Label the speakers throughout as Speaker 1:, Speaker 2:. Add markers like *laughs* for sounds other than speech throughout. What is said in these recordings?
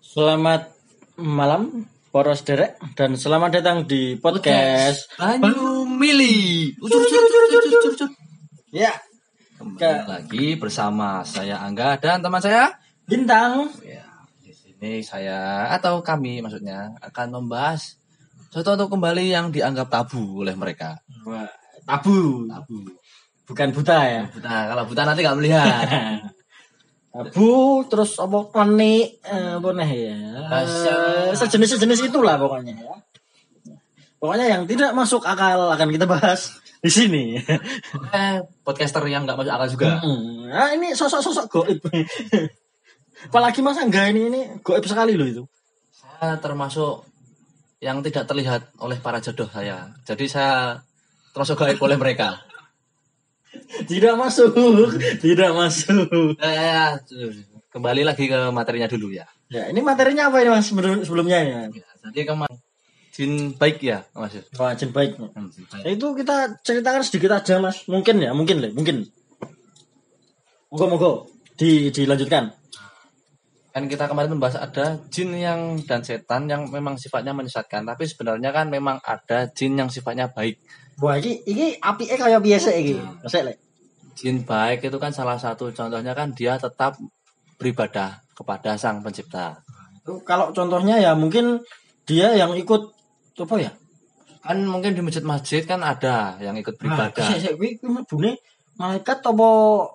Speaker 1: Selamat malam poros derek dan selamat datang di podcast.
Speaker 2: Banyu Mili.
Speaker 1: Ya,
Speaker 2: Kembali lagi bersama saya Angga dan teman saya.
Speaker 1: bintang.
Speaker 2: Ya, di sini saya atau kami maksudnya akan membahas sesuatu kembali yang dianggap tabu oleh mereka.
Speaker 1: Wah, tabu,
Speaker 2: Tabu.
Speaker 1: bukan buta ya.
Speaker 2: Buta, kalau buta nanti nggak melihat.
Speaker 1: Tabu terus apa klenik eh, apa nih ya.
Speaker 2: Bahasa-
Speaker 1: Sejenis-sejenis itulah pokoknya ya. Pokoknya yang tidak masuk akal akan kita bahas di sini.
Speaker 2: eh, podcaster yang nggak masuk akal juga.
Speaker 1: Hmm, ah, ini sosok-sosok goib. Apalagi Mas Angga ini ini goib sekali loh itu.
Speaker 2: Saya termasuk yang tidak terlihat oleh para jodoh saya. Jadi saya termasuk gaib oleh mereka.
Speaker 1: Tidak masuk, *laughs* tidak masuk.
Speaker 2: Ya, ya, ya. Kembali lagi ke materinya dulu ya.
Speaker 1: Ya, ini materinya apa ini Mas sebelum- sebelumnya ya?
Speaker 2: Ya, jadi kemarin jin baik ya mas
Speaker 1: Wajib baik. Ya,
Speaker 2: Hmm, jin baik.
Speaker 1: Itu kita ceritakan sedikit aja Mas. Mungkin ya, mungkin Le, mungkin. Moga moga di dilanjutkan.
Speaker 2: kan kita kemarin membahas ada jin yang dan setan yang memang sifatnya menyesatkan tapi sebenarnya kan memang ada jin yang sifatnya baik
Speaker 1: Wah, ini ini apike kaya biasa iki. Resik Le.
Speaker 2: jin baik itu kan salah satu contohnya kan dia tetap beribadah kepada sang pencipta
Speaker 1: Itu Kalau contohnya ya mungkin dia yang ikut apa ya?
Speaker 2: kan mungkin di masjid-masjid kan ada yang ikut
Speaker 1: Nah,
Speaker 2: beribadah
Speaker 1: sik kuwi kuwi mlebune malaikat apa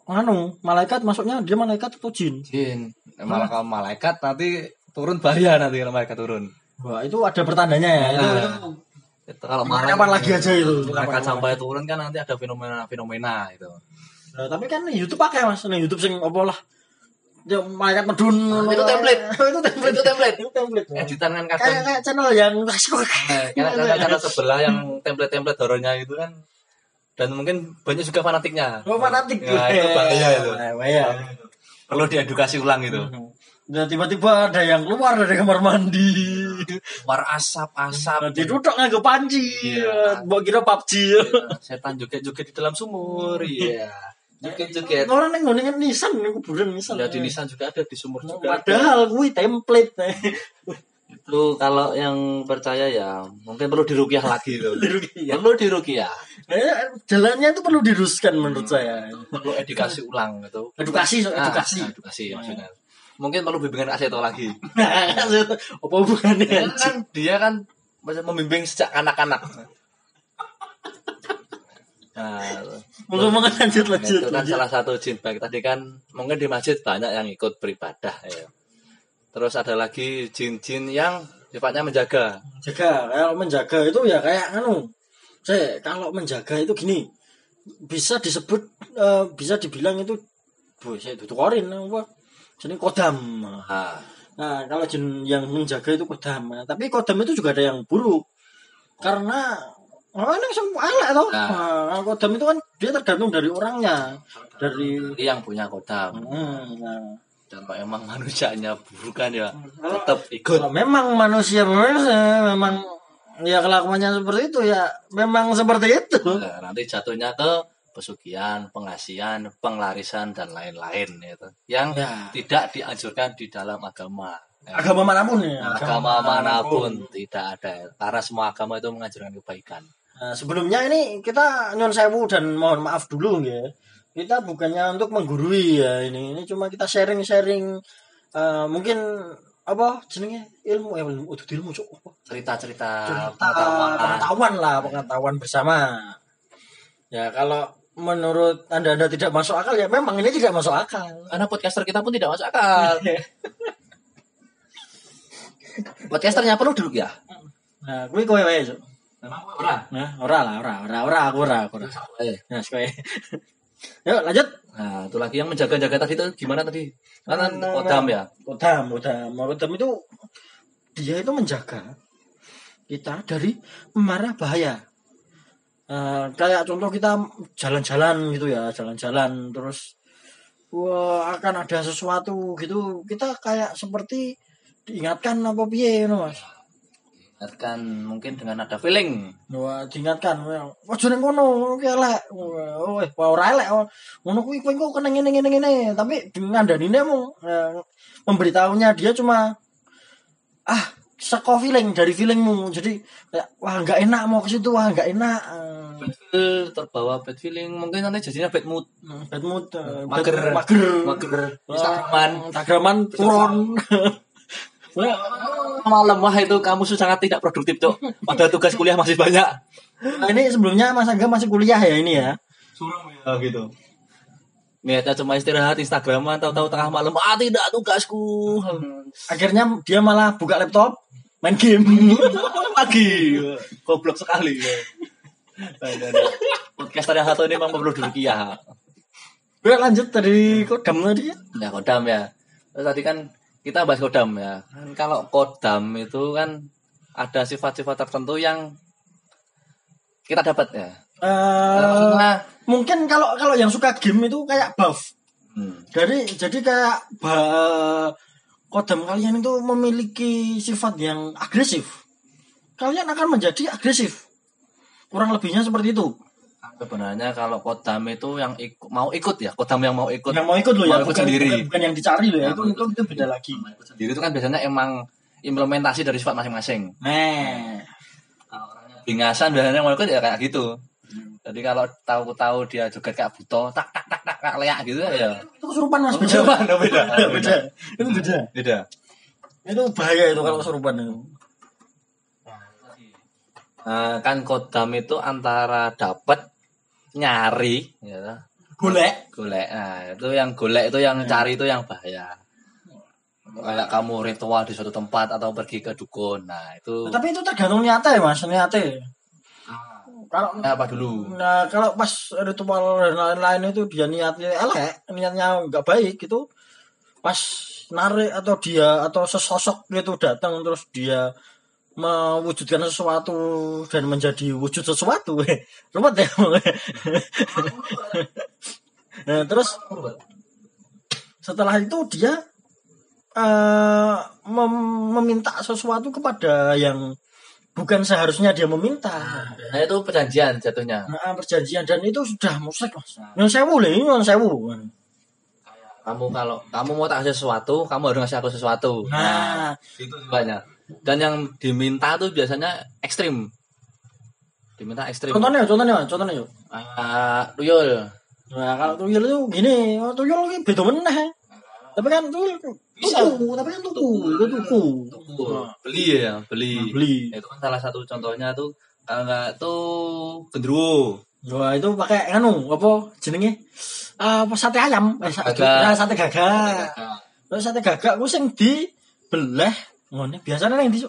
Speaker 1: nganu? Malaikat maksudnya dia malaikat atau jin?
Speaker 2: jin malah kalau malaikat nanti turun bahaya nanti kalau malaikat turun
Speaker 1: Wah, itu ada pertandanya ya. Itu,
Speaker 2: Nah.
Speaker 1: itu
Speaker 2: itu kalau
Speaker 1: Kapan lagi aja itu?
Speaker 2: malaikat sampai turun kan nanti ada fenomena-fenomena gitu
Speaker 1: Nah, tapi kan YouTube pakai mas, nih YouTube sing apa lah. Ya, malaikat medun.
Speaker 2: Ah, itu
Speaker 1: *laughs*
Speaker 2: template.
Speaker 1: itu template.
Speaker 2: Itu template.
Speaker 1: Itu template. Mas.
Speaker 2: *laughs* editan kan kadang
Speaker 1: Kayak kayak channel yang *laughs*
Speaker 2: Eh, karena karena karena sebelah yang template-template horornya itu kan dan mungkin banyak juga fanatiknya.
Speaker 1: Oh, fanatik.
Speaker 2: Ya, itu bahaya itu.
Speaker 1: Bahaya, bahaya.
Speaker 2: Perlu diedukasi ulang gitu. itu.
Speaker 1: Dan tiba-tiba ada yang keluar dari kamar mandi. *laughs*
Speaker 2: War asap-asap.
Speaker 1: Ditutup nggak panci.
Speaker 2: Iya.
Speaker 1: Bawa kira PUBG.
Speaker 2: Gitu.
Speaker 1: *laughs*
Speaker 2: Setan joget-joget di dalam sumur. Iya.
Speaker 1: Hmm.
Speaker 2: Joget-joget.
Speaker 1: *laughs* Orang yang ngomongin nisan, yang kuburan nisan.
Speaker 2: Ya di nisan juga ada di sumur juga. ada.
Speaker 1: Padahal gue template. *laughs*
Speaker 2: Itu kalau yang percaya ya mungkin perlu dirukiah lagi
Speaker 1: *laughs*
Speaker 2: loh.
Speaker 1: Dirugikan.
Speaker 2: Perlu dirukiah.
Speaker 1: Eh, Jalannya itu perlu diruskan menurut saya.
Speaker 2: Perlu edukasi ulang gitu.
Speaker 1: Edukasi, so-
Speaker 2: Hmm.
Speaker 1: Nah.
Speaker 2: Ah,
Speaker 1: edukasi.
Speaker 2: ah, edukasi maksudnya. Mungkin perlu bimbingan aseto lagi.
Speaker 1: *laughs* apa hubungannya
Speaker 2: Dia
Speaker 1: anjing?
Speaker 2: kan *laughs* dia kan membimbing sejak anak-anak. Nah,
Speaker 1: Moga moga lanjut lanjut
Speaker 2: itu kan
Speaker 1: lanjut.
Speaker 2: salah satu jin baik tadi kan mungkin di masjid banyak yang ikut beribadah ya. Terus ada lagi jin-jin yang sifatnya menjaga.
Speaker 1: Jaga, kalau menjaga itu ya kayak anu. Saya kalau menjaga itu gini bisa disebut eh, bisa dibilang itu bu saya tuturin apa jadi kodam
Speaker 2: Nah,
Speaker 1: nah kalau jin yang menjaga itu kodam Nah, tapi kodam itu juga ada yang buruk karena oh, ini semua alat toh
Speaker 2: Nah.
Speaker 1: Nah, kodam itu kan dia tergantung dari orangnya dari
Speaker 2: jadi yang punya kodam
Speaker 1: Hmm, nah.
Speaker 2: dan kalau emang manusianya buruk kan ya
Speaker 1: Kalau-
Speaker 2: tetap ikut.
Speaker 1: Kalau memang manusia manusia memang ya kelakuannya seperti itu ya memang seperti itu.
Speaker 2: Nah, nanti jatuhnya ke pesugihan, pengasihan, penglarisan dan lain-lain gitu. Yang
Speaker 1: Ya.
Speaker 2: tidak dianjurkan di dalam agama. Ya.
Speaker 1: Agama manapun ya.
Speaker 2: agama manapun tidak ada karena semua agama itu mengajarkan kebaikan
Speaker 1: Nah, sebelumnya ini kita nyon sewu dan mohon maaf dulu ya. Kita bukannya untuk menggurui ya ini. Ini cuma kita sharing-sharing eh, mungkin apa jenenge ilmu eh, ilmu itu ilmu cuk. Apa?
Speaker 2: cerita-cerita
Speaker 1: Pengetahuan.
Speaker 2: pengetahuan
Speaker 1: pengetahuan lah pengetahuan bersama. Ya kalau menurut anda anda tidak masuk akal ya memang ini tidak masuk akal.
Speaker 2: karena podcaster kita pun tidak masuk akal podcasternya perlu dulu ya
Speaker 1: Nah, kuwi kowe wae, Cuk. Nah, ora lah, ora, ora, ora, aku ora, aku ora.
Speaker 2: Eh,
Speaker 1: Nah, kowe. *laughs* Yuk, lanjut.
Speaker 2: nah itu lagi yang menjaga-jaga tadi itu gimana tadi karena
Speaker 1: Nah,
Speaker 2: kodam ya
Speaker 1: Kodam, kodam. Kodam itu dia itu menjaga kita dari marah bahaya. Eh, kayak contoh kita jalan-jalan gitu ya, jalan-jalan terus wah akan ada sesuatu gitu. Kita kayak seperti diingatkan apa piye ngono, Mas.
Speaker 2: kan mungkin dengan ada feeling
Speaker 1: Wah, diingatkan, wah, ojo ning kono, ngono kuwi elek. Wah, Oh, weh, wah ora elek. oh. Ngono kuwi kowe engko kena ngene ngene ngene, tapi dengan danine mu eh, memberitahunya dia cuma ah seko feeling dari feelingmu jadi kayak, wah nggak enak mau ke situ wah nggak enak eh,
Speaker 2: Bad feel, terbawa bad feeling, mungkin nanti jadinya bad mood.
Speaker 1: bad mood eh, bad-
Speaker 2: Mager.
Speaker 1: mager
Speaker 2: Mager,
Speaker 1: Wah,
Speaker 2: Instagraman.
Speaker 1: instagraman turun
Speaker 2: *laughs*
Speaker 1: Wah,
Speaker 2: Malam lemah itu kamu sudah sangat tidak produktif, Cok. Padahal tugas kuliah masih banyak.
Speaker 1: nah, ini sebelumnya Mas Angga masih kuliah ya ini ya
Speaker 2: Suram ya gitu. Niatnya cuma istirahat Instagraman, tahu-tahu tengah malam, ah tidak tugasku.
Speaker 1: akhirnya dia malah buka laptop main game *laughs*
Speaker 2: Lagi. Goblok sekali. Nah, nah, nah. Podcast tadi satu ini memang perlu duduk ya.
Speaker 1: gue lanjut dari kodam tadi ya
Speaker 2: Nah, kodam ya. Terus tadi kan kita bahas kodam ya. Kan kalau kodam itu kan ada sifat-sifat tertentu yang kita dapat ya.
Speaker 1: Eh,
Speaker 2: Karena
Speaker 1: mungkin kalau kalau yang suka game itu kayak buff
Speaker 2: hmm,
Speaker 1: dari jadi kayak ba- kodam kalian itu memiliki sifat yang agresif kalian akan menjadi agresif kurang lebihnya seperti itu
Speaker 2: Nah, sebenarnya kalau kodam itu yang ikut mau ikut ya, kodam yang mau ikut
Speaker 1: yang mau ikut lo ya
Speaker 2: Mau ikut
Speaker 1: bukan,
Speaker 2: sendiri.
Speaker 1: bukan, bukan yang dicari lo ya,
Speaker 2: Ya,
Speaker 1: itu,
Speaker 2: mau
Speaker 1: itu itu beda lagi
Speaker 2: sendiri itu kan biasanya emang implementasi dari sifat masing-masing.
Speaker 1: nah
Speaker 2: Bingasan biasanya yang mau ikut ya kayak gitu. Jadi kalau tahu-tahu dia juga kayak buto, tak tak tak tak, tak leak gitu ya.
Speaker 1: itu kesurupan mas Oh, beda
Speaker 2: Coba, beda, beda,
Speaker 1: beda itu beda
Speaker 2: beda.
Speaker 1: itu bahaya itu kalau kesurupan itu
Speaker 2: Eh, kan kodam itu antara dapat nyari gitu.
Speaker 1: golek
Speaker 2: golek nah itu yang golek itu yang cari itu yang bahaya kayak kamu ritual di suatu tempat atau pergi ke dukun nah itu
Speaker 1: tapi itu tergantung niatnya ya mas niatnya Ah. kalau
Speaker 2: apa dulu
Speaker 1: Nah, kalau pas ritual dan lain-lain itu dia niatnya elek, niatnya nggak baik gitu. Pas narik atau dia atau sesosok itu datang terus dia mewujudkan sesuatu dan menjadi wujud sesuatu. *laughs* Rumit ya. nah, terus setelah itu dia eh, mem- meminta sesuatu kepada yang bukan seharusnya dia meminta.
Speaker 2: nah itu perjanjian jatuhnya
Speaker 1: Nah, perjanjian dan itu sudah musrik mas. Yang sewu lah ini yang sewu. Nah,
Speaker 2: kamu kalau kamu mau tak kasih sesuatu kamu harus ngasih aku sesuatu
Speaker 1: Nah,
Speaker 2: itu banyak dan yang diminta tuh biasanya ekstrim diminta ekstrim
Speaker 1: contohnya, contohnya, Mas, contohnya yuk.
Speaker 2: Ah, tuyul
Speaker 1: Nah, kalau tuyul itu gini, oh, tuyul ini beda meneh. Tapi kan tuyul
Speaker 2: Bisa.
Speaker 1: tuku, tapi kan tuku, Iya. itu tuku.
Speaker 2: Tuku. beli ya beli
Speaker 1: Beli.
Speaker 2: Ya, itu kan salah satu contohnya tuh kalau nggak tuh gendruwo
Speaker 1: Wah, Nah, itu pakai anu apa jenenge? Ah, apa, sate ayam, eh, sate
Speaker 2: Gagak.
Speaker 1: nah, sate gagak. Terus sate gagak ku sing dibelah ngene. Biasanya yang di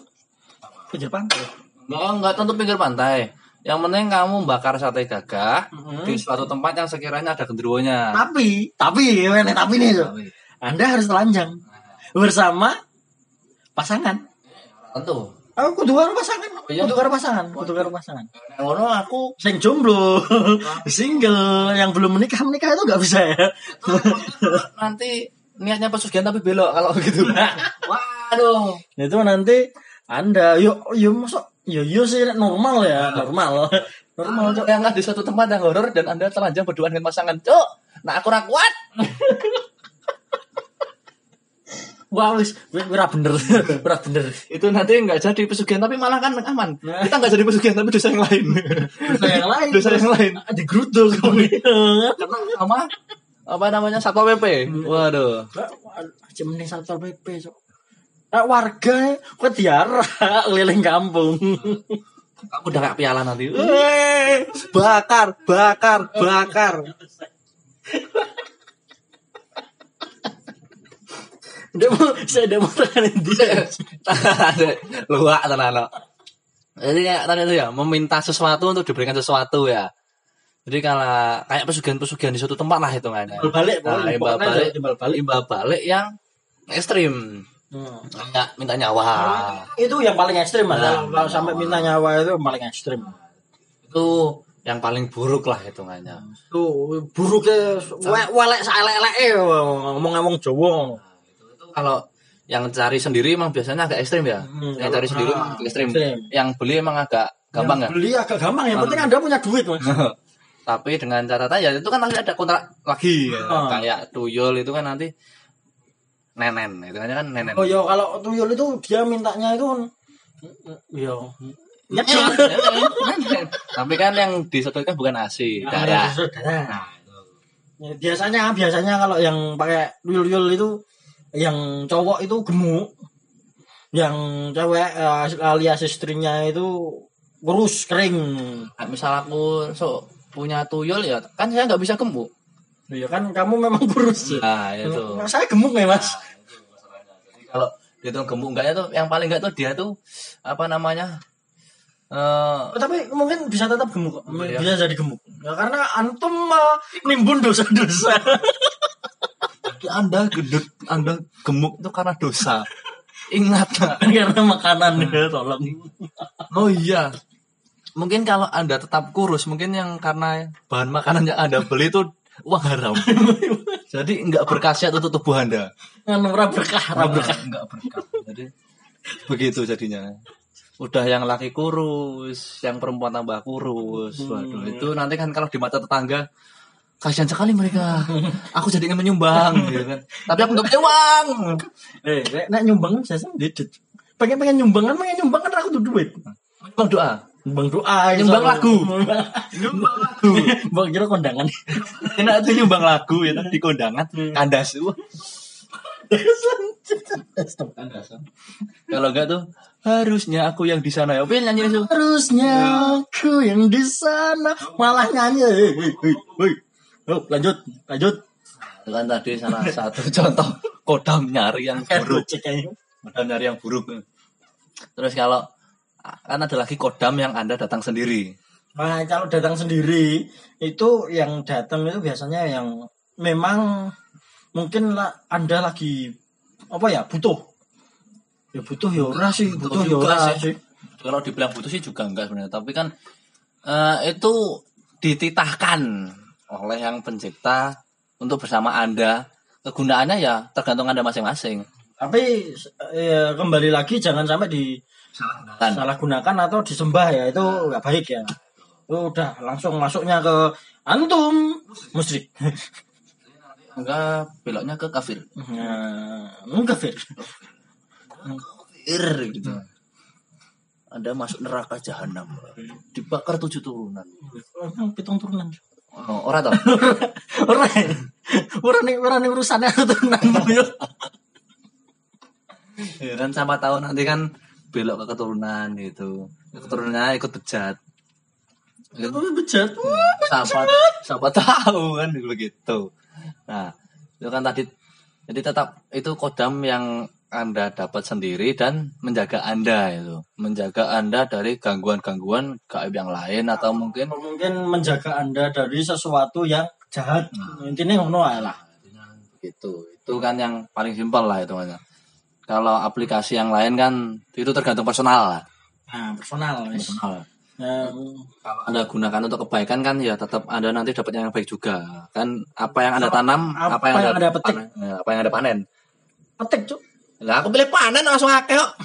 Speaker 1: pinggir pantai.
Speaker 2: nggak nggak tentu pinggir pantai yang penting kamu bakar sate gagah
Speaker 1: Mhm.
Speaker 2: di suatu tempat yang sekiranya ada Nah, gendruwonya
Speaker 1: Tapi, tapi, ini, tapi nih, Cuk. Anda harus telanjang bersama pasangan.
Speaker 2: tentu
Speaker 1: Aku kudu karo pasangan,
Speaker 2: Iya.
Speaker 1: kudu karo pasangan, kudu karo pasangan.
Speaker 2: Yang ngono aku
Speaker 1: Sing jomblo, *laughs* single, yang belum menikah menikah itu nggak bisa *laughs* ya.
Speaker 2: nanti niatnya pesugihan tapi belok kalau *laughs* gitu waduh
Speaker 1: Nah, itu nanti Anda, yuk, yuk masuk, yo yo sih normal ya, normal, *laughs* normal. Cok.
Speaker 2: yang di suatu tempat yang horor dan anda telanjang berduaan dengan pasangan cok nah aku ora kuat
Speaker 1: Wah wis, wis ora bener, *laughs* ora bener.
Speaker 2: itu nanti nggak jadi pesugihan tapi malah kan aman kita nggak jadi pesugihan tapi dosa yang lain
Speaker 1: Dosa yang lain, Iya.
Speaker 2: dosa yang lain
Speaker 1: Ada *laughs* geruduk.
Speaker 2: karena sama apa namanya satpol pp waduh
Speaker 1: Aja mending satpol PP, Cok. Ah, warga kok diarak keliling kampung. *laughs*
Speaker 2: aku udah kayak piala nanti
Speaker 1: Wey, bakar, bakar, bakar. Ndak mau, saya ndak mau tangan dia.
Speaker 2: luak tenan lo jadi kayak tadi itu ya meminta sesuatu untuk diberikan sesuatu ya jadi kalau kayak pesugihan-pesugihan di suatu tempat lah hitungannya
Speaker 1: Timbal balik,
Speaker 2: Nah,
Speaker 1: pokoknya
Speaker 2: timbal
Speaker 1: pokoknya
Speaker 2: balik.
Speaker 1: timbal balik.
Speaker 2: limbah balik yang ekstrim
Speaker 1: Iya.
Speaker 2: kayak minta nyawa
Speaker 1: Hmm. Itu yang paling ekstrim Mas.
Speaker 2: Nah.
Speaker 1: Kalau sampai minta nyawa itu yang paling ekstrim.
Speaker 2: itu yang paling buruk lah hitungannya
Speaker 1: Tuh buruknya we- welek saelek-eleke ngomong-ngomong Jawa.
Speaker 2: kalau yang cari sendiri emang biasanya agak ekstrim ya
Speaker 1: Hmm,
Speaker 2: yang
Speaker 1: kalau-
Speaker 2: cari sendiri emang agak ekstrim
Speaker 1: Ekstrim.
Speaker 2: yang beli emang agak gampang Nah. ya
Speaker 1: Yang Beli agak gampang yang penting Anda punya duit, Mas.
Speaker 2: *laughs* tapi dengan catatan ya itu kan nanti ada kontrak lagi ya.
Speaker 1: Ah.
Speaker 2: kayak tuyul itu kan nanti nenen hitungannya kan nenen
Speaker 1: Oh yo kalau tuyul itu dia mintanya itu kan iya. yo
Speaker 2: Nenen, nenen, Eh, nenen. tapi kan yang disedotkan bukan asi
Speaker 1: Iya,
Speaker 2: darah
Speaker 1: saudara.
Speaker 2: nah
Speaker 1: Ya, biasanya biasanya kalau yang pakai tuyul-tuyul itu yang cowok itu gemuk, yang cewek eh, alias istrinya itu kurus kering.
Speaker 3: Ah, misal aku so punya tuyul ya kan saya nggak bisa gemuk
Speaker 1: Ya kan kamu memang *laughs* kurus. Ya.
Speaker 2: nah itu
Speaker 1: Saya gemuk nih mas.
Speaker 2: Jadi kalau dihitung gemuk enggaknya tuh yang paling enggak tuh dia tuh apa namanya eh
Speaker 1: Oh, tapi mungkin bisa tetap gemuk, kok.
Speaker 2: Iya.
Speaker 1: bisa jadi gemuk. Ya, karena antum mah nimbun dosa-dosa. *laughs*
Speaker 2: anda gendut anda gemuk itu karena dosa ingat Nak.
Speaker 1: karena makanan ya tolong.
Speaker 2: oh iya mungkin kalau anda tetap kurus mungkin yang karena bahan makanan yang anda beli itu uang *laughs* haram jadi enggak berkhasiat untuk tubuh anda
Speaker 1: Kan ora berkah, ora
Speaker 2: Nah.
Speaker 1: berkah.
Speaker 2: enggak berkah jadi begitu jadinya udah yang laki kurus yang perempuan tambah kurus waduh itu nanti kan kalau di mata tetangga kasihan sekali mereka *laughs* aku jadi ingin menyumbang gitu kan tapi aku nggak punya uang
Speaker 1: Eh, nek- nek nyumbang saya sendiri. Pengen pengen nyumbang kan, pengen nyumbang kan aku tuh duit.
Speaker 2: Bang doa
Speaker 1: Nyumbang doa,
Speaker 2: Nyumbang
Speaker 1: soalnya.
Speaker 2: lagu.
Speaker 1: nyumbang
Speaker 2: *laughs*
Speaker 1: lagu. Bang kira kondangan.
Speaker 2: enak tuh nyumbang lagu ya kan, di kondangan kandas Wah, kalau enggak tuh harusnya aku yang di sana ya Opin nyanyi itu
Speaker 1: Harusnya aku yang di sana malah nyanyi. Hei, hei, hei, hei. Oh, lanjut, lanjut.
Speaker 2: Itu kan tadi salah satu *laughs* contoh kodam nyari yang buruk
Speaker 1: Eh, *laughs* Cek kayaknya.
Speaker 2: Kodam nyari yang buruk. Terus kalau kan ada lagi kodam yang Anda datang sendiri.
Speaker 1: Nah, kalau datang sendiri itu yang datang itu biasanya yang memang mungkin lah Anda lagi apa ya butuh. Ya butuh ya ora sih, butuh,
Speaker 2: Butuh
Speaker 1: ya
Speaker 2: juga
Speaker 1: ora
Speaker 2: sih.
Speaker 1: sih.
Speaker 2: Kalau dibilang butuh sih juga enggak sebenarnya, tapi kan eh, itu dititahkan oleh yang pencipta untuk bersama Anda. Kegunaannya ya tergantung Anda masing-masing.
Speaker 1: Tapi eh, kembali lagi jangan sampai
Speaker 2: Kan?
Speaker 1: disalahgunakan atau disembah ya itu nggak baik ya. Itu udah langsung masuknya ke antum musyrik. *laughs*
Speaker 2: Enggak beloknya ke kafir.
Speaker 1: Nah, enggak Fir.
Speaker 2: Ir gitu. Anda masuk neraka jahanam. Dibakar tujuh turunan.
Speaker 1: Emang pitung turunan.
Speaker 2: Oh, ora *laughs* toh?
Speaker 1: Ora. Ora nih, ora nih urusannya turunan *laughs* yo.
Speaker 2: Heran sama tahun nanti kan belok ke keturunan gitu. Keturunannya ikut bejat.
Speaker 1: Tapi bejat.
Speaker 2: Siapa siapa tahu kan begitu. Nah, itu kan tadi jadi tetap itu kodam yang Anda dapat sendiri dan menjaga Anda itu. Menjaga Anda dari gangguan-gangguan gaib yang lain atau mungkin
Speaker 1: Mungkin menjaga Anda dari sesuatu yang jahat. Intinya ngono ae lah.
Speaker 2: gitu. Itu kan yang paling simpel lah hitungannya. Kalau aplikasi yang lain kan itu tergantung personal lah.
Speaker 1: Nah, personal wis.
Speaker 2: Personal.
Speaker 1: Nah,
Speaker 2: kalau anda gunakan untuk kebaikan kan ya tetap anda nanti dapat yang baik juga kan apa yang anda tanam apa, yang, anda,
Speaker 1: petik.
Speaker 2: panen, Ya, apa yang anda panen
Speaker 1: petik, Cuk.
Speaker 2: lah aku pilih panen langsung akeh kok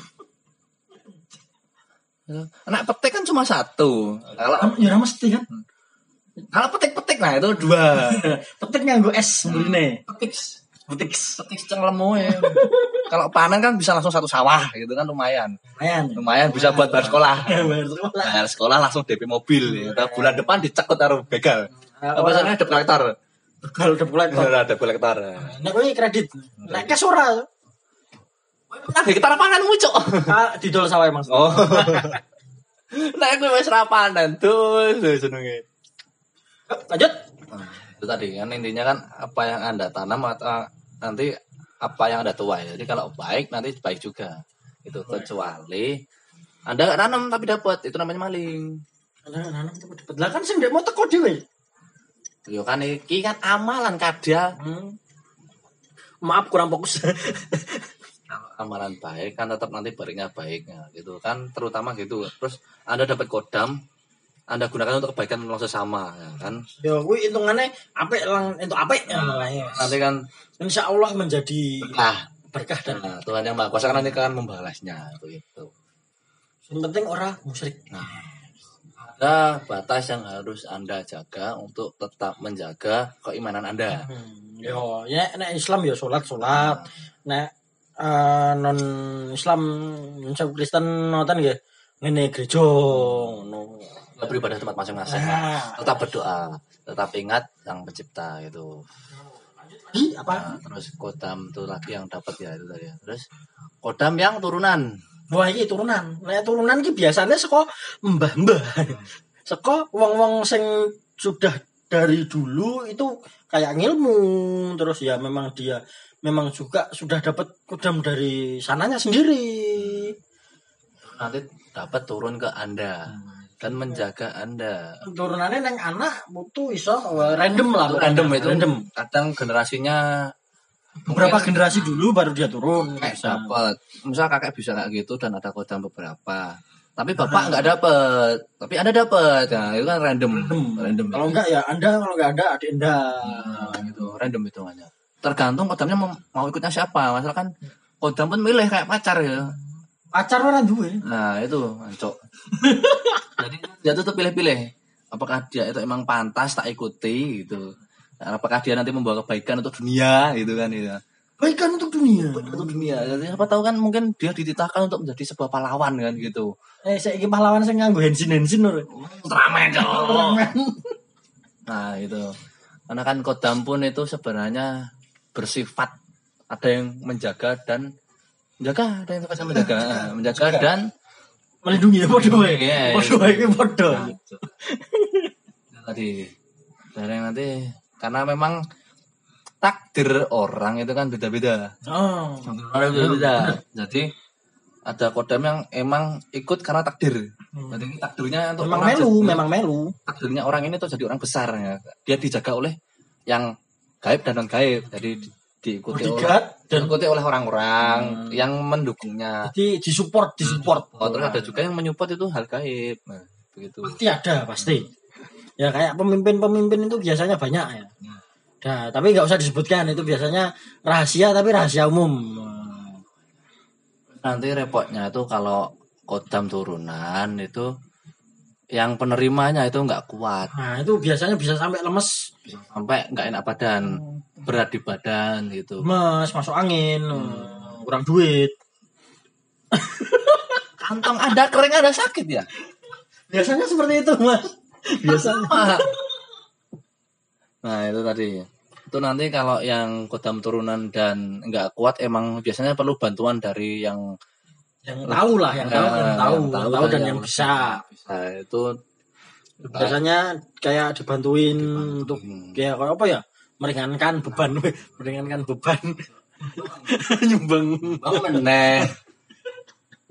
Speaker 2: anak petik kan cuma satu kalau
Speaker 1: Kamu ya ora mesti kan. *laughs*
Speaker 2: kalau petik petik nah itu dua
Speaker 1: Petik nganggo es mrene.
Speaker 2: petik petik petik cenglemu ya kalau panen kan bisa langsung satu sawah gitu kan lumayan
Speaker 1: Lumayan.
Speaker 2: lumayan bisa buat bayar sekolah
Speaker 1: Eh, Bayar sekolah.
Speaker 2: bayar sekolah langsung DP mobil ya. bulan depan dicekut taruh begal
Speaker 1: Nah,
Speaker 2: apa sana ada kolektor
Speaker 1: Kalau udah pulang kok.
Speaker 2: ada kolektor
Speaker 1: Nek kowe Nah, kredit. Nek cash ora.
Speaker 2: Nah, kita rapananmu, Cok.
Speaker 1: Ah, didol sawah Mas.
Speaker 2: Oh. Nah, aku wis rapanan terus senenge.
Speaker 1: Lanjut.
Speaker 2: Itu tadi kan intinya kan apa yang Anda tanam atau nanti apa yang Anda tuai. Jadi kalau baik nanti baik juga. Itu kecuali Anda nggak tanam tapi dapat, itu namanya maling.
Speaker 1: Nah, nah, nah, dapat. Lah kan sing ndek mau teko dhewe.
Speaker 2: Yo kan iki kan amalan kada
Speaker 1: Hmm. Maaf kurang fokus. *laughs*
Speaker 2: amalan baik kan tetap nanti baliknya baiknya gitu kan terutama gitu terus anda dapat kodam anda gunakan untuk kebaikan orang sesama ya kan
Speaker 1: ya kuwi hitungannya apik lang entuk apik ya makanya.
Speaker 2: nanti kan
Speaker 1: Insya Allah menjadi
Speaker 2: ah
Speaker 1: berkah dan
Speaker 2: Nah, Tuhan yang Maha Kuasa kan nanti akan membalasnya gitu. begitu.
Speaker 1: yang penting orang musyrik.
Speaker 2: Ada batas yang harus Anda jaga untuk tetap menjaga keimanan Anda.
Speaker 1: Hmm, Yo, ya nek Islam ya sholat sholat. Nek eh, non Islam non Kristen ngoten nggih ngene gereja ngono.
Speaker 2: Tetap beribadah tempat masing-masing.
Speaker 1: Nah,
Speaker 2: Tetap berdoa, tetap ingat sang pencipta gitu.
Speaker 1: lagi apa?
Speaker 2: Nah, terus kodam itu lagi yang dapat ya itu tadi. ya. Terus kodam yang turunan.
Speaker 1: Wah, iki turunan. Nek turunan iki biasanya saka mbah-mbah. Saka wong-wong sing sudah dari dulu itu kayak ngilmu terus ya memang dia memang juga sudah dapat kudam dari sananya sendiri.
Speaker 2: Nanti dapat turun ke Anda dan menjaga Anda.
Speaker 1: turunannya neng anak butuh iso eh, random lah
Speaker 2: Itu
Speaker 1: pokoknya.
Speaker 2: random itu. Iya.
Speaker 1: random
Speaker 2: Kadang generasinya
Speaker 1: beberapa generasi dulu baru dia turun gitu.
Speaker 2: kakek
Speaker 1: bisa.
Speaker 2: dapat misal kakek bisa kayak gitu dan ada kodam beberapa tapi bapak nggak dapat tapi anda dapat nah itu kan random
Speaker 1: random,
Speaker 2: random
Speaker 1: kalau enggak ya anda kalau enggak ada adik anda
Speaker 2: Nah, gitu random hitungannya tergantung kodamnya mau, mau ikutnya siapa masalah kan kodam pun milih kayak pacar ya
Speaker 1: pacar orang duwe
Speaker 2: nah itu *laughs* cok jadi dia tuh pilih-pilih apakah dia itu emang pantas tak ikuti gitu apakah dia nanti membawa kebaikan untuk dunia gitu kan gitu.
Speaker 1: baikan untuk dunia
Speaker 2: untuk dunia jadi siapa tahu kan mungkin dia dititahkan untuk menjadi sebuah pahlawan kan gitu
Speaker 1: eh saya ingin pahlawan saya nganggo hensin hensin lho
Speaker 2: Ultraman Oh. Nah itu Karena kan kodam pun itu sebenarnya Bersifat Ada yang menjaga dan Menjaga Ada yang sifatnya *laughs* menjaga Nah, Menjaga dan
Speaker 1: melindungi ya podo wae
Speaker 2: Iya, iya.
Speaker 1: podo wae iki podo
Speaker 2: Nah, itu. Itu Nah, Tadi Dari yang nanti Karena memang Takdir orang itu kan beda-beda
Speaker 1: oh
Speaker 2: Takdir orang beda-beda Jadi ada kodam yang emang ikut karena takdir. Jadi takdirnya untuk
Speaker 1: memang
Speaker 2: orang
Speaker 1: melu
Speaker 2: jadi-
Speaker 1: memang melu
Speaker 2: takdirnya orang ini tuh jadi orang besar ya. Dia dijaga oleh yang gaib dan non gaib. Jadi di- diikuti oleh,
Speaker 1: bodyguard dan
Speaker 2: diikuti oleh orang-orang yang mendukungnya.
Speaker 1: jadi disupport disupport
Speaker 2: Oh, terus ada juga yang menyupport itu hal gaib. Nah, begitu.
Speaker 1: pasti ada pasti ya kayak pemimpin-pemimpin itu biasanya banyak ya nah tapi nggak usah disebutkan itu biasanya rahasia tapi rahasia umum
Speaker 2: Nanti repotnya itu kalau kodam turunan itu yang penerimanya itu nggak kuat
Speaker 1: nah itu biasanya bisa sampai lemes
Speaker 2: sampai nggak enak badan berat di badan gitu
Speaker 1: lemes masuk angin
Speaker 2: Hmm.
Speaker 1: kurang duit
Speaker 2: kantong ada kering ada sakit ya
Speaker 1: biasanya seperti itu
Speaker 2: *laughs*
Speaker 1: mas biasanya
Speaker 2: Pak. Nah itu tadi Itu nanti kalau yang kodam turunan dan nggak kuat Emang biasanya perlu bantuan dari yang
Speaker 1: yang tahu lah yang tahu yang
Speaker 2: eh,
Speaker 1: tahu
Speaker 2: yang
Speaker 1: yang tahu dan yang bisa
Speaker 2: bisa. Itu
Speaker 1: biasanya kayak dibantuin untuk
Speaker 2: Hmm.
Speaker 1: kayak kayak apa ya meringankan beban *laughs* meringankan beban *laughs* nyumbang
Speaker 2: meneh Nah,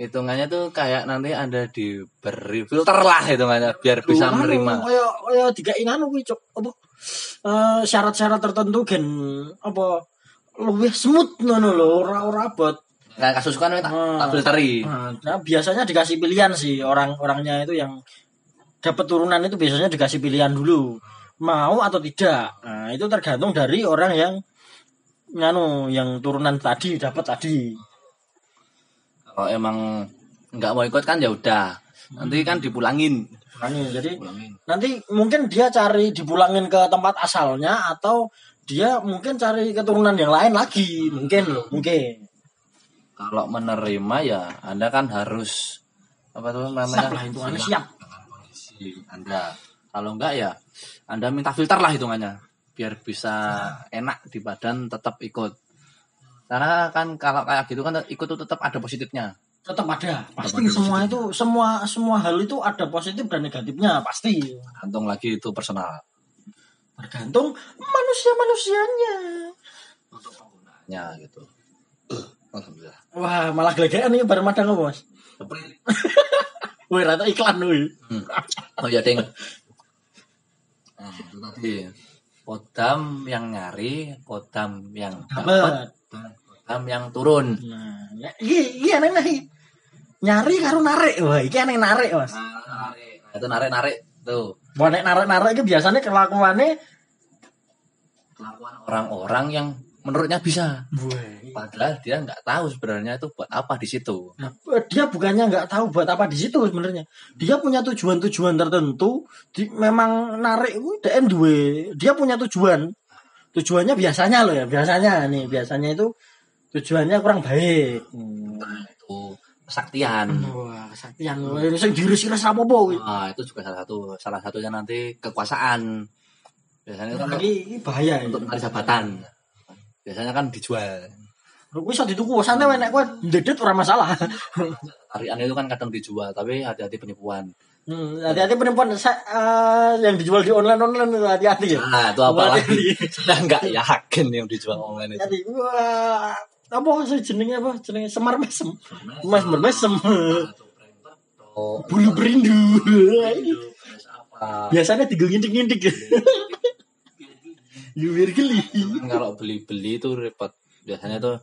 Speaker 2: Hitungannya tuh kayak nanti Anda diberi filter lah hitungannya Biar bisa
Speaker 1: Anu,
Speaker 2: menerima
Speaker 1: kaya kaya dikai anu kuwi cok apa eh, syarat-syarat tertentu gen apa luwih smooth ngono lho ora ora abot
Speaker 2: Kayak kasus kan tak,
Speaker 1: Hmm.
Speaker 2: tak filteri
Speaker 1: nah, nah, biasanya dikasih pilihan sih orang-orangnya itu yang dapat turunan itu biasanya dikasih pilihan dulu mau atau tidak nah itu tergantung dari orang yang nganu yang turunan tadi dapat tadi
Speaker 2: Kalau emang nggak mau ikut kan ya udah Nanti kan dipulangin
Speaker 1: Nah, jadi
Speaker 2: Pulangin
Speaker 1: nanti mungkin dia cari dipulangin ke tempat asalnya atau dia mungkin cari keturunan yang lain lagi mungkin loh mungkin
Speaker 2: kalau menerima ya Anda kan harus apa tuh namanya
Speaker 1: siap lah hitungannya siap
Speaker 2: kondisi Anda kalau enggak ya Anda minta filter lah hitungannya biar bisa enak di badan tetap ikut karena kan kalau kayak gitu kan ikut tuh tetap ada positifnya
Speaker 1: tetap ada pasti
Speaker 2: ada
Speaker 1: semua itu semua semua hal itu ada positif dan negatifnya pasti
Speaker 2: gantung lagi itu personal
Speaker 1: tergantung manusia manusianya
Speaker 2: ya gitu alhamdulillah
Speaker 1: wah malah gelegean nih bareng madang apa, mas wih rata iklan wih
Speaker 2: Hmm. Oh iya ding. Nah, itu tadi.
Speaker 1: Iya.
Speaker 2: Kodam yang nyari, kodam yang
Speaker 1: Dapat.
Speaker 2: dapat, dan kodam yang turun.
Speaker 1: nah ya- iki iki aneh nih nyari karo narik wah iki aneh narik mas
Speaker 2: Nah, itu narik-narik tuh.
Speaker 1: wah nek narik narik itu biasanya kelakuannya
Speaker 2: Kelakuan orang-orang yang menurutnya bisa.
Speaker 1: wah
Speaker 2: Padahal dia nggak tahu sebenarnya itu buat apa di situ.
Speaker 1: Nah, dia bukannya nggak tahu buat apa di situ sebenarnya. Dia punya tujuan-tujuan tertentu. Di, memang narik itu DM duwe. Dia punya tujuan. tujuannya biasanya loh ya biasanya nih biasanya itu tujuannya kurang baik hmm.
Speaker 2: Nah, itu kesaktian
Speaker 1: wah kesaktian hmm. sing dirusik rasa apa boy
Speaker 2: nah, itu juga salah satu salah satunya nanti kekuasaan biasanya kan untuk,
Speaker 1: ini bahaya
Speaker 2: untuk
Speaker 1: ya.
Speaker 2: mencari jabatan biasanya kan dijual
Speaker 1: Gue bisa dituku, santai wae nek kowe ndedet ora *laughs* masalah.
Speaker 2: tarian itu kan kadang dijual tapi hati-hati penipuan
Speaker 1: Hmm, hati-hati perempuan Sa- eh, yang dijual di online online itu hati-hati ya.
Speaker 2: nah itu apa lagi *laughs* saya nggak yakin yang dijual online itu
Speaker 1: Hati wah, apa sih jenenge apa jenenge semar mesem. Mas mesem.
Speaker 2: Oh,
Speaker 1: Bulu berindu.
Speaker 2: apa?
Speaker 1: Biasanya tiga ngintik-ngintik. *laughs* Yuwir geli.
Speaker 2: Cuman kalau beli-beli itu repot biasanya tuh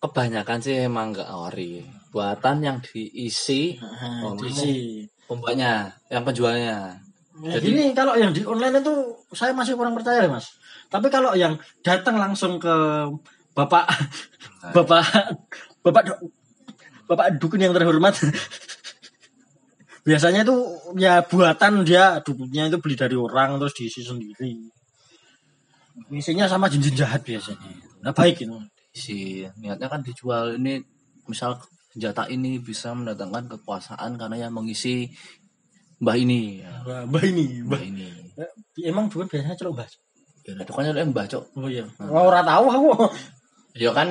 Speaker 2: kebanyakan sih emang nggak ori buatan yang diisi
Speaker 1: Nah,
Speaker 2: Oh,
Speaker 1: itu sih.
Speaker 2: pembuatnya yang penjualnya
Speaker 1: Nah, gini kalau yang di online itu saya masih kurang percaya ya, Mas. Tapi kalau yang datang langsung ke Bapak Bapak Bapak Do- Bapak Dukun yang terhormat. Biasanya itu ya buatan dia dukunnya itu beli dari orang terus diisi sendiri. Isinya sama jin-jin jahat biasanya. Nah, baik itu.
Speaker 2: si niatnya kan dijual ini misal senjata ini bisa mendatangkan kekuasaan karena yang mengisi mbah ini ya,
Speaker 1: Mbak, mbak ini, mbak.
Speaker 2: mbah ini
Speaker 1: Emang Dukun biasanya celok Mbak.
Speaker 2: ya itu kan eh, mbah cok
Speaker 1: Oh iya. Ora tahu aku.
Speaker 2: ya kan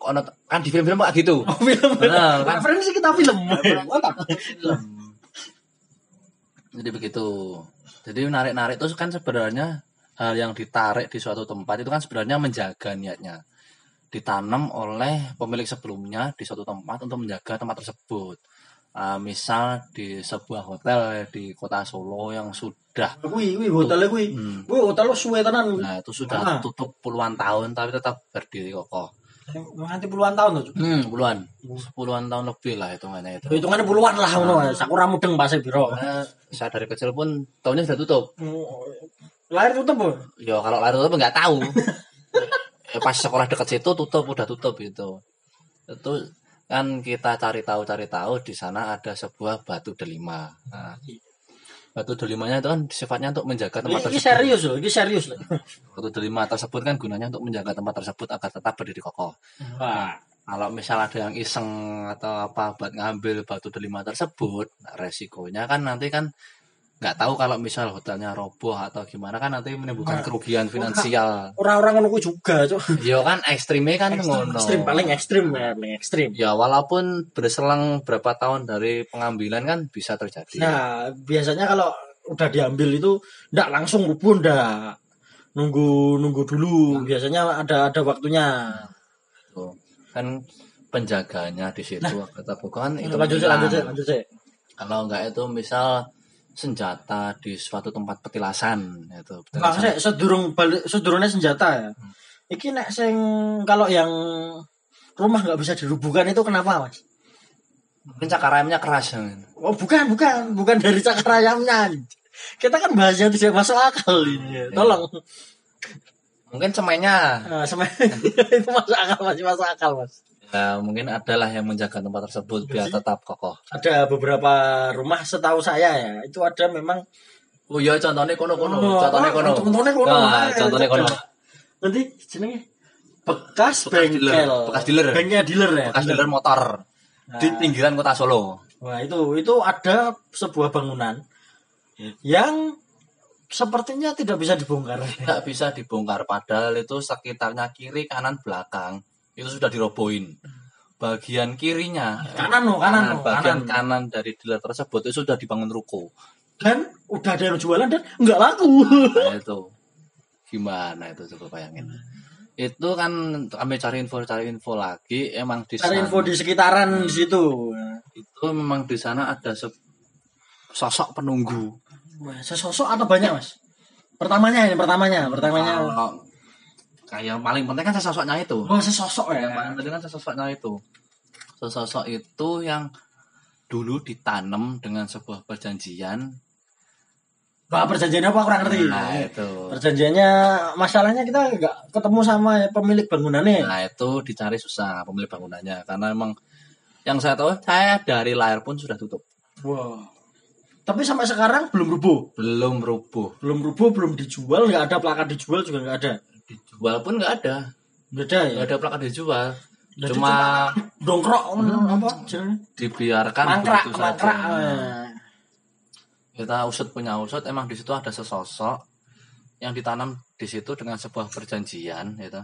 Speaker 2: ono- kan di film-film kayak gitu
Speaker 1: Oh, film.
Speaker 2: Nah, kan.
Speaker 1: Referensi kita film. Mantap.
Speaker 2: jadi begitu jadi narik-narik itu kan sebenarnya hal yang ditarik di suatu tempat itu kan sebenarnya menjaga niatnya ditanam oleh pemilik sebelumnya di suatu tempat untuk menjaga tempat tersebut Ah, misal di sebuah hotel di kota Solo yang sudah
Speaker 1: Kuwi, kuwi hotelnya kuwi.
Speaker 2: Hmm.
Speaker 1: Kuwi hotel lo suwe tenan.
Speaker 2: nah itu
Speaker 1: Ah.
Speaker 2: sudah tutup puluhan tahun tapi tetap berdiri kokoh
Speaker 1: Nganti puluhan tahun loh. Cuk.
Speaker 2: Hmm, puluhan sepuluhan tahun lebih lah hitungannya itu
Speaker 1: Hitungannya puluhan lah ngono.
Speaker 2: Hmm.
Speaker 1: Sakura mudeng pas biro.
Speaker 2: karena saya dari kecil pun tahunnya sudah tutup
Speaker 1: Lahir tutup, Bu.
Speaker 2: Ya kalau lari tutup nggak
Speaker 1: *laughs*
Speaker 2: tahu. Ya, pas sekolah dekat situ tutup udah tutup gitu. Itu kan kita cari tahu cari tahu di sana ada sebuah batu delima. Nah, batu delimanya itu kan sifatnya untuk menjaga
Speaker 1: Ini
Speaker 2: tempat
Speaker 1: Iya,
Speaker 2: tersebut.
Speaker 1: serius loh, ini serius loh.
Speaker 2: Batu delima tersebut kan gunanya untuk menjaga tempat tersebut agar tetap berdiri kokoh.
Speaker 1: Wah.
Speaker 2: Kalau misal ada yang iseng atau apa buat ngambil batu delima tersebut, nah, resikonya kan nanti kan nggak tahu kalau misal hotelnya roboh atau gimana kan nanti menimbulkan kerugian
Speaker 1: Oh,
Speaker 2: finansial.
Speaker 1: Orang-orang ngono kuwi juga, Cuk.
Speaker 2: Yo kan ekstrimnya kan
Speaker 1: Ekstrim,
Speaker 2: ngono.
Speaker 1: ekstrim, paling ekstrim ya, paling ekstrim.
Speaker 2: Ya walaupun berselang berapa tahun dari pengambilan kan bisa terjadi.
Speaker 1: Nah, biasanya kalau udah diambil itu ndak langsung rubun ndak. Nunggu nunggu dulu. Biasanya ada ada waktunya.
Speaker 2: Tuh. Kan penjaganya di situ kata bukan itu
Speaker 1: Nah. lanjut, Cuk,
Speaker 2: bilang.
Speaker 1: lanjut, Cuk, lanjut, Cuk.
Speaker 2: Kalau enggak itu misal senjata di suatu tempat petilasan itu
Speaker 1: Nah,
Speaker 2: petilasan.
Speaker 1: sik, sedurung balik sedurungnya senjata ya. Iki nek sing kalau yang rumah nggak bisa dirubuhkan itu kenapa, Mas?
Speaker 2: Mungkin cakar ayamnya keras. ya.
Speaker 1: Oh, bukan, bukan, bukan dari cakar ayamnya. Kita kan bahas yang tidak masuk akal ini. Tolong.
Speaker 2: Mungkin cemainya.
Speaker 1: Nah, sama *laughs* itu masuk akal, masih masuk akal, Mas.
Speaker 2: Ya, mungkin adalah yang menjaga tempat tersebut
Speaker 1: Iya
Speaker 2: biar tetap kokoh.
Speaker 1: Ada beberapa rumah setahu saya ya, itu ada memang
Speaker 2: Oh iya contohnya kono kono,
Speaker 1: Oh,
Speaker 2: contohnya
Speaker 1: oh,
Speaker 2: kono.
Speaker 1: contohnya kono.
Speaker 2: Nah, contohnya kono.
Speaker 1: nanti jenenge bekas,
Speaker 2: Bekas
Speaker 1: bengkel,
Speaker 2: dealer, bekas dealer.
Speaker 1: Bengkel dealer ya.
Speaker 2: Bekas dealer motor di pinggiran kota Solo.
Speaker 1: Wah itu itu ada sebuah bangunan yang sepertinya tidak bisa dibongkar.
Speaker 2: tidak bisa dibongkar padahal itu sekitarnya kiri kanan belakang itu sudah dirobohin bagian kirinya
Speaker 1: Kanan lo, kanan lo,
Speaker 2: bagian
Speaker 1: kanan.
Speaker 2: kanan dari dealer tersebut itu sudah dibangun ruko
Speaker 1: Dan udah ada yang jualan dan nggak laku.
Speaker 2: Nah, itu gimana itu coba bayangin itu kan kami cari info cari info lagi emang di
Speaker 1: Cari
Speaker 2: sana
Speaker 1: info di sekitaran di situ.
Speaker 2: itu memang di sana ada se- sosok penunggu
Speaker 1: Wah, sesosok atau banyak mas? Pertamanya ini pertamanya, pertamanya.
Speaker 2: Kalau- kayak yang paling penting kan sosoknya itu
Speaker 1: Wah sesosok ya.
Speaker 2: yang paling penting kan sesosoknya itu sesosok itu yang dulu ditanam dengan sebuah perjanjian
Speaker 1: Wah perjanjiannya apa kurang ngerti.
Speaker 2: nah itu
Speaker 1: Perjanjiannya masalahnya kita nggak ketemu sama pemilik bangunannya.
Speaker 2: nah itu dicari susah pemilik bangunannya karena emang yang saya tahu saya dari lahir pun sudah tutup
Speaker 1: Wah. Tapi sampai sekarang belum rubuh,
Speaker 2: belum rubuh
Speaker 1: belum rubuh, belum dijual, nggak ada plakat dijual juga nggak ada.
Speaker 2: dijual pun nggak ada
Speaker 1: Nggak ada ya
Speaker 2: nggak ada plakat dijual
Speaker 1: Jadi
Speaker 2: cuma
Speaker 1: dongkrok apa jenengnya?
Speaker 2: dibiarkan
Speaker 1: mangkrak
Speaker 2: begitu Kan gitu saja.
Speaker 1: mangkrak eh.
Speaker 2: kita usut punya usut emang di situ ada sesosok yang ditanam di situ dengan sebuah perjanjian gitu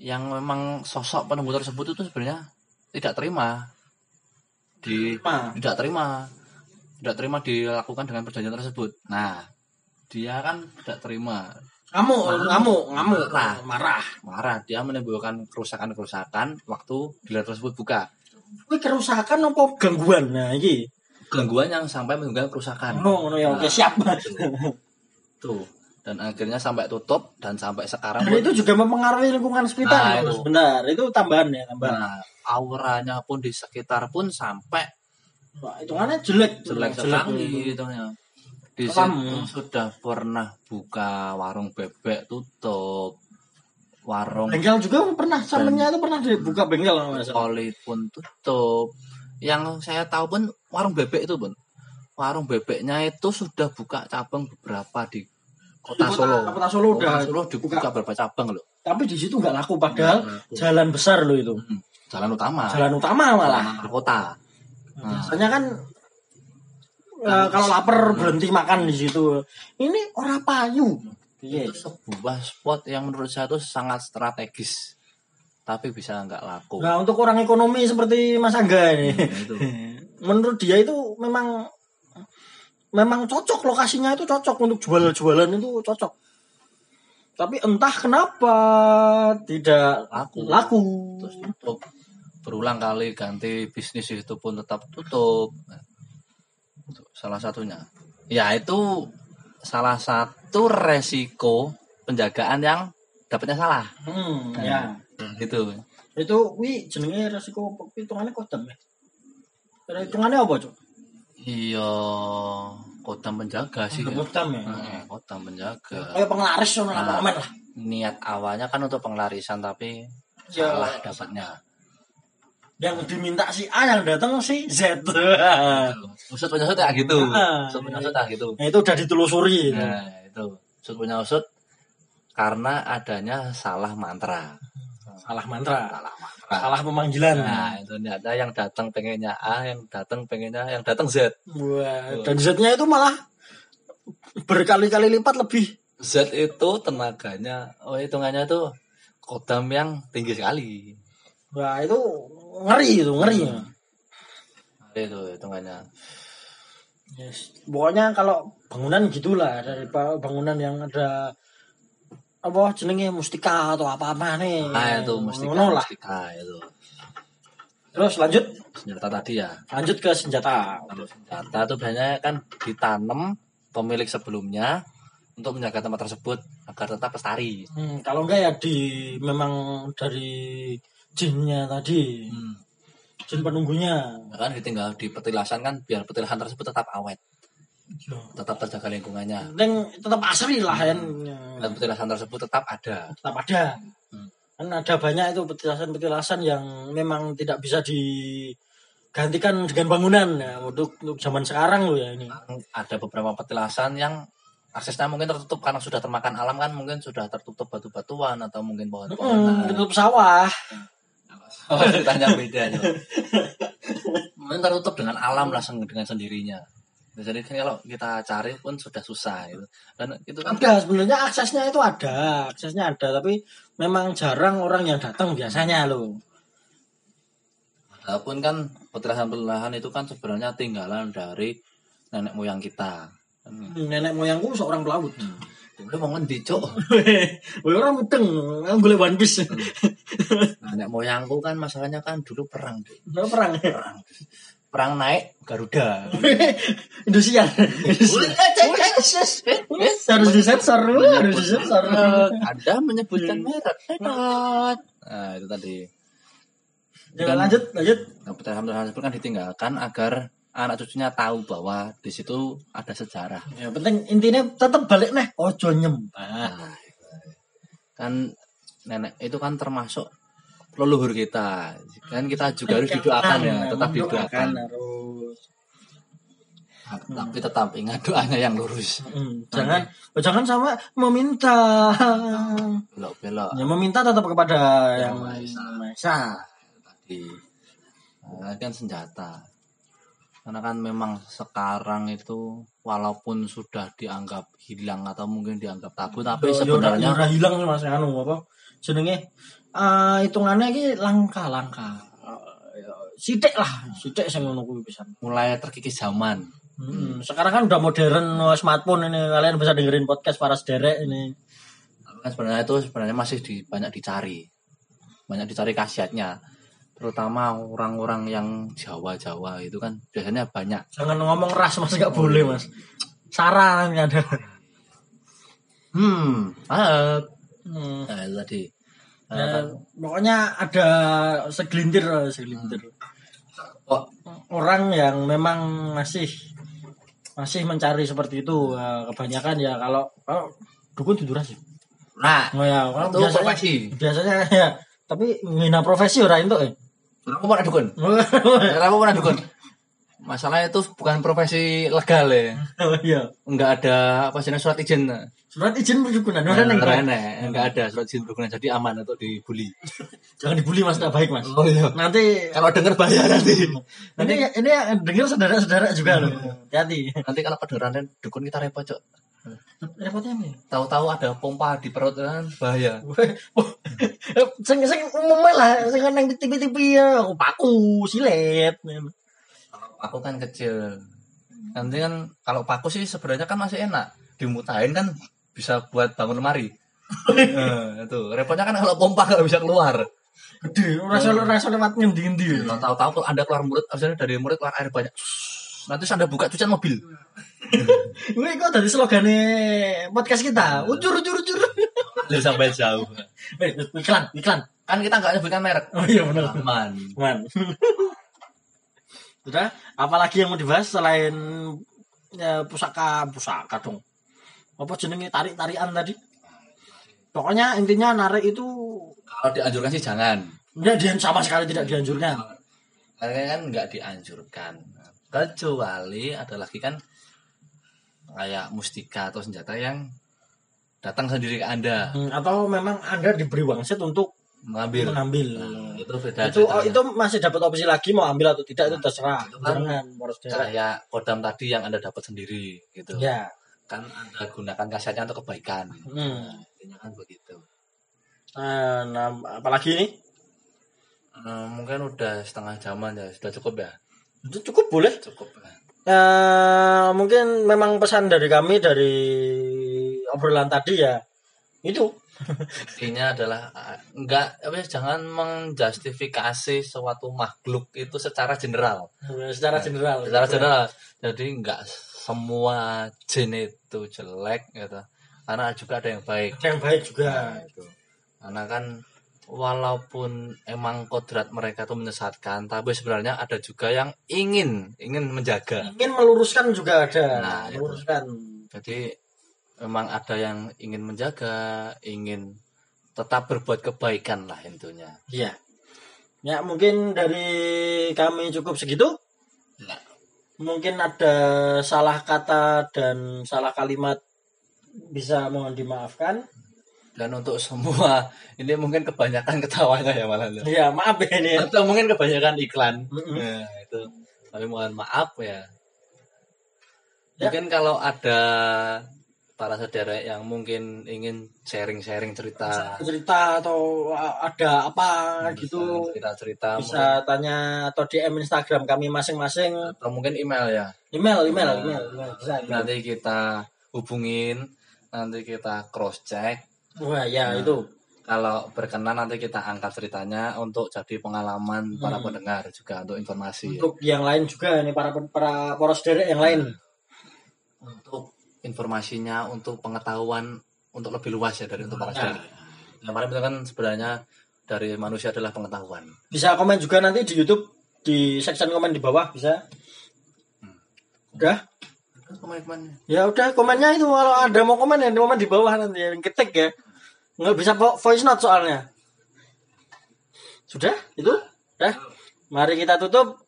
Speaker 2: yang memang sosok penemu tersebut itu sebenarnya tidak terima di
Speaker 1: Ma,
Speaker 2: tidak terima tidak terima dilakukan dengan perjanjian tersebut nah dia kan tidak terima
Speaker 1: kamu kamu kamu
Speaker 2: Marah.
Speaker 1: marah
Speaker 2: marah dia menimbulkan kerusakan kerusakan waktu dealer tersebut buka
Speaker 1: Kuwi kerusakan apa gangguan nah iki
Speaker 2: gangguan yang sampai menimbulkan kerusakan
Speaker 1: ngono ngono ya oke siap
Speaker 2: tuh dan akhirnya sampai tutup dan sampai sekarang
Speaker 1: dan
Speaker 2: pun-
Speaker 1: itu juga mempengaruhi lingkungan
Speaker 2: Nah,
Speaker 1: sekitar
Speaker 2: itu.
Speaker 1: Mas. benar itu tambahan ya tambahan
Speaker 2: Nah, auranya pun di sekitar pun sampai
Speaker 1: Wah, hitungannya jelek
Speaker 2: jelek
Speaker 1: itu.
Speaker 2: sekali gitu ya. Di
Speaker 1: Kelam.
Speaker 2: situ sudah pernah buka warung bebek tutup. Warung
Speaker 1: bengkel juga pernah samennya itu pernah dibuka bengkel kalau nggak salah.
Speaker 2: oli pun tutup. Yang saya tahu pun warung bebek itu pun. Warung bebeknya itu sudah buka cabang beberapa di
Speaker 1: Di
Speaker 2: kota Solo.
Speaker 1: kota Solo udah
Speaker 2: Kota Solo dibuka beberapa cabang loh.
Speaker 1: tapi di situ nggak laku padahal
Speaker 2: Nggak laku.
Speaker 1: jalan besar loh itu
Speaker 2: Hmm, Jalan utama.
Speaker 1: jalan utama malah
Speaker 2: Jalan antar kota. Nah,
Speaker 1: biasanya kan eh, kalau lapar berhenti makan di situ ini ora payu iya
Speaker 2: itu sebuah spot yang menurut saya itu sangat strategis tapi bisa nggak laku
Speaker 1: nah
Speaker 2: Nah,
Speaker 1: untuk orang ekonomi seperti Mas Angga ini
Speaker 2: itu
Speaker 1: *laughs* menurut dia itu memang memang cocok lokasinya itu cocok untuk jual-jualan itu cocok tapi entah kenapa tidak
Speaker 2: laku
Speaker 1: laku
Speaker 2: terus tutup berulang kali ganti bisnis itu pun tetap tutup Nah, itu salah satunya ya itu salah satu resiko penjagaan yang dapatnya salah Nah,
Speaker 1: hmm, ya
Speaker 2: gitu
Speaker 1: itu wi jenenge resiko hitungannya kodam ya hitungannya apa cok
Speaker 2: iya kotam penjaga sih ya.
Speaker 1: kodam ya
Speaker 2: Heeh, kotam penjaga
Speaker 1: kayak penglaris ono
Speaker 2: Nah.
Speaker 1: lah lah
Speaker 2: niat awalnya kan untuk penglarisan tapi
Speaker 1: Ya.
Speaker 2: salah dapatnya
Speaker 1: yang diminta si A yang datang si
Speaker 2: *laughs*
Speaker 1: Z
Speaker 2: usut punya usut ya gitu
Speaker 1: Ah,
Speaker 2: usut punya usut ya gitu
Speaker 1: nah, itu udah ditelusuri itu.
Speaker 2: nah itu usut punya usut karena adanya salah mantra
Speaker 1: salah mantra
Speaker 2: salah mantra
Speaker 1: salah pemanggilan
Speaker 2: nah itu ada yang datang pengennya A yang datang pengennya yang datang Z
Speaker 1: Wah, dan Z-nya itu malah berkali-kali lipat lebih
Speaker 2: Z itu tenaganya oh hitungannya tuh kodam yang tinggi sekali
Speaker 1: wah Nah, itu ngeri itu ngeri ya.
Speaker 2: Hmm. itu hitungannya
Speaker 1: Yes. pokoknya kalau bangunan gitulah dari ba- bangunan yang ada apa jenenge mustika atau apa apa nih
Speaker 2: nah itu mustika
Speaker 1: Oh, Ngono lah.
Speaker 2: mustika itu
Speaker 1: terus lanjut
Speaker 2: senjata tadi ya
Speaker 1: lanjut ke senjata
Speaker 2: Kalau senjata itu biasanya kan ditanam pemilik sebelumnya untuk menjaga tempat tersebut agar tetap lestari.
Speaker 1: Hmm, kalau enggak ya di memang dari jinnya tadi, jin penunggunya.
Speaker 2: Nah, Kan ditinggal di petilasan kan biar petilasan tersebut tetap awet, tetap terjaga lingkungannya.
Speaker 1: Dan tetap asri lah kan.
Speaker 2: Dan petilasan tersebut tetap ada.
Speaker 1: Tetap ada.
Speaker 2: Hmm.
Speaker 1: Kan ada banyak itu petilasan-petilasan yang memang tidak bisa digantikan dengan bangunan ya untuk, untuk zaman sekarang loh ya ini.
Speaker 2: Ada beberapa petilasan yang aksesnya mungkin tertutup karena sudah termakan alam kan mungkin sudah tertutup batu-batuan atau mungkin
Speaker 1: Hmm,
Speaker 2: pohon-pohonan.
Speaker 1: tutup sawah.
Speaker 2: *laughs* Oh, ceritanya beda ya. Mungkin tertutup dengan alam lah sen- dengan sendirinya. Nah, Jadi kan kalau kita cari pun sudah susah gitu. Dan itu kan
Speaker 1: Ada sebenarnya aksesnya itu ada, aksesnya ada tapi memang jarang orang yang datang biasanya loh.
Speaker 2: walaupun kan petilasan-petilasan itu kan sebenarnya tinggalan dari nenek moyang kita. Hmm.
Speaker 1: Nenek moyangku seorang pelaut.
Speaker 2: Dulu mau ngendi, Cuk?
Speaker 1: *laughs* Wah orang mudeng, aku boleh One *laughs* Piece.
Speaker 2: Nenek moyangku kan masalahnya kan dulu perang, Cuk.
Speaker 1: Nggak perang. *laughs*
Speaker 2: perang naik Garuda.
Speaker 1: Indosiar. *laughs* Harus disensor, harus disensor.
Speaker 2: Anda menyebutkan merek. Nah, itu tadi.
Speaker 1: Jangan lanjut, lanjut.
Speaker 2: Nah, Peterham-peterham tersebut kan ditinggalkan agar anak cucunya tahu bahwa di situ ada sejarah.
Speaker 1: Ya, penting intinya tetap balik nih. Ojo nyembah.
Speaker 2: Nah, kan nenek itu kan termasuk leluhur kita. ya, Kan kita juga harus didoakan ya, tetap didoakan.
Speaker 1: harus.
Speaker 4: Hmm.
Speaker 2: tapi tetap ingat doanya yang lurus
Speaker 1: Hmm, jangan oh, jangan sama *laughs* meminta.
Speaker 2: belok belok
Speaker 1: Ya, meminta tetap kepada yang,
Speaker 2: Yang Maha Esa.
Speaker 1: Maha Esa.
Speaker 2: tadi Nah, kan senjata karena kan memang sekarang itu walaupun sudah dianggap hilang atau mungkin dianggap tabu tapi
Speaker 1: Yo- yo- yo
Speaker 2: sebenarnya
Speaker 1: ora hilang Mas anu apa jenenge eh hitungannya iki langkah-langkah. Eh, ya, Sithik lah, sithik sing ngono kuwi pisan.
Speaker 2: mulai terkikis zaman
Speaker 1: Hmm, sekarang kan udah modern no, smartphone ini kalian bisa dengerin podcast para sederek ini.
Speaker 2: Tapi kan sebenarnya itu sebenarnya masih di- banyak dicari banyak dicari khasiatnya terutama orang-orang yang Jawa-Jawa itu kan biasanya banyak
Speaker 1: Jangan ngomong ras Mas nggak boleh Mas. Saran nggak *laughs* ada.
Speaker 2: hmm ah
Speaker 1: Hmm.
Speaker 2: nah itu tadi Nah,
Speaker 1: Ya,
Speaker 2: kan,
Speaker 1: pokoknya ada segelintir eh, segelintir
Speaker 2: oh,
Speaker 1: orang yang memang masih masih mencari seperti itu Eh, kebanyakan ya kalau kalau dukun tidur sih
Speaker 2: nah
Speaker 1: oh ya kalau
Speaker 2: itu
Speaker 1: biasanya
Speaker 2: profesi
Speaker 1: biasanya ya tapi ngina profesi orang itu eh
Speaker 2: kenapa pernah dukun
Speaker 1: Oh,
Speaker 2: kenapa pernah dukun masalahnya itu bukan profesi legal ya
Speaker 1: oh iya
Speaker 2: nggak ada apa sih surat izin nah,
Speaker 1: surat izin perdukunan
Speaker 2: nah,
Speaker 1: orang yang baik.
Speaker 2: nah, nggak ada surat izin berguna jadi aman untuk dibully
Speaker 1: jangan dibully mas tidak baik mas
Speaker 2: oh iya
Speaker 1: nanti
Speaker 2: kalau denger bahaya nanti
Speaker 1: nanti Iya. ini yang denger saudara-saudara juga loh hati
Speaker 2: nanti kalau kedengeran dukun kita repot cok
Speaker 1: repotnya apa ya?
Speaker 2: tahu-tahu ada pompa di perut kan bahaya
Speaker 1: sing sing umumnya lah sing nang tipi-tipi ya aku paku silet
Speaker 2: aku kan kecil nanti kan kalau paku sih sebenarnya kan masih enak dimutahin kan bisa buat bangun lemari Eh, *laughs* itu repotnya kan kalau pompa nggak bisa keluar
Speaker 1: gede rasa rasa lewat ya, ngendi-endi
Speaker 2: Kalau tahu-tahu anda keluar mulut misalnya dari mulut keluar air banyak Sus, nanti anda buka cucian mobil
Speaker 1: Gue kok dari slogannya podcast kita ucur ucur ucur *laughs*
Speaker 2: Lalu sampai jauh
Speaker 1: Eh, iklan iklan
Speaker 2: kan kita nggak nyebutkan merek
Speaker 1: oh iya benar
Speaker 2: aman
Speaker 1: man *laughs* sudah apalagi yang mau dibahas selain ya, pusaka pusaka dong apa jenenge tarik tarian tadi pokoknya intinya narik itu
Speaker 2: kalau dianjurkan sih jangan
Speaker 1: nggak dia sama sekali tidak dianjurkan
Speaker 2: Karena kan nggak dianjurkan. Kecuali ada lagi kan kayak mustika atau senjata yang datang sendiri ke Anda
Speaker 1: Hmm, atau memang anda diberi wangsit untuk
Speaker 2: mengambil.
Speaker 1: mengambil
Speaker 2: Nah, itu beda
Speaker 1: itu oh,
Speaker 2: ceritanya.
Speaker 1: itu masih dapat opsi lagi mau ambil atau tidak itu terserah
Speaker 2: Itu kan-
Speaker 1: jangan harus daerah
Speaker 2: kayak kodam tadi yang Anda dapat sendiri gitu.
Speaker 1: ya
Speaker 2: Kan Anda gunakan kasihannya untuk kebaikan.
Speaker 1: Hmm.
Speaker 2: Nah, intinya kan begitu.
Speaker 1: nah, nah, apalagi ini
Speaker 2: Eh, mungkin udah setengah jaman ya, sudah cukup ya.
Speaker 1: itu cukup boleh
Speaker 2: Cukup. ya.
Speaker 1: Eh, mungkin memang pesan dari kami dari obrolan tadi ya itu
Speaker 2: Intinya adalah eh, enggak apa ya, jangan menjustifikasi suatu makhluk itu secara general.
Speaker 1: secara general
Speaker 2: secara general jadi nggak semua jin itu jelek gitu karena juga ada yang baik
Speaker 1: Ada yang baik juga
Speaker 2: Nah, itu. karena kan walaupun emang kodrat mereka itu menyesatkan tapi sebenarnya ada juga yang ingin ingin menjaga
Speaker 1: ingin meluruskan juga ada
Speaker 2: Nah, itu.
Speaker 1: meluruskan
Speaker 2: jadi memang ada yang ingin menjaga ingin tetap berbuat kebaikan lah intinya
Speaker 1: Iya. Ya mungkin dari kami cukup segitu.
Speaker 2: Ya.
Speaker 1: Mungkin ada salah kata dan salah kalimat bisa mohon dimaafkan.
Speaker 2: dan untuk semua *laughs* ini mungkin kebanyakan ketawanya ya malah
Speaker 1: Iya maaf ya ini.
Speaker 2: atau mungkin kebanyakan iklan
Speaker 1: Mm-mm.
Speaker 2: Nah, itu tapi mohon maaf ya
Speaker 1: Ya.
Speaker 2: mungkin kalau ada para saudara yang mungkin ingin sharing-sharing cerita
Speaker 1: Cerita atau uh, ada apa gitu
Speaker 2: cerita-cerita mungkin-
Speaker 1: bisa tanya atau DM Instagram kami masing-masing.
Speaker 2: atau mungkin email ya
Speaker 1: Email, email,
Speaker 2: Nah.
Speaker 1: email, email. Bisa, email.
Speaker 2: nanti kita hubungin nanti kita cross check
Speaker 1: Wah ya
Speaker 2: Nah,
Speaker 1: itu.
Speaker 2: kalau berkenan nanti kita angkat ceritanya untuk jadi pengalaman para pendengar juga untuk informasi
Speaker 1: Hmm. Untuk yang lain juga ini para para poros derek yang lain.
Speaker 2: Nah. untuk informasinya untuk pengetahuan untuk lebih luas ya dari untuk para
Speaker 1: Ya.
Speaker 2: saudara. Yang paling penting kan sebenarnya dari manusia adalah pengetahuan.
Speaker 1: bisa komen juga nanti di YouTube di section komen di bawah bisa
Speaker 2: Hmm.
Speaker 1: udah ya udah komennya itu kalau ada mau komen ya komen di bawah nanti yang ketik ya nggak bisa vo- voice note soalnya sudah itu udah mari kita tutup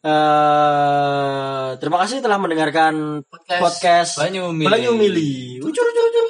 Speaker 1: eh terima kasih telah mendengarkan podcast
Speaker 3: Banyu Mili.
Speaker 1: Belanyu Mili. Ucur ucur ucur.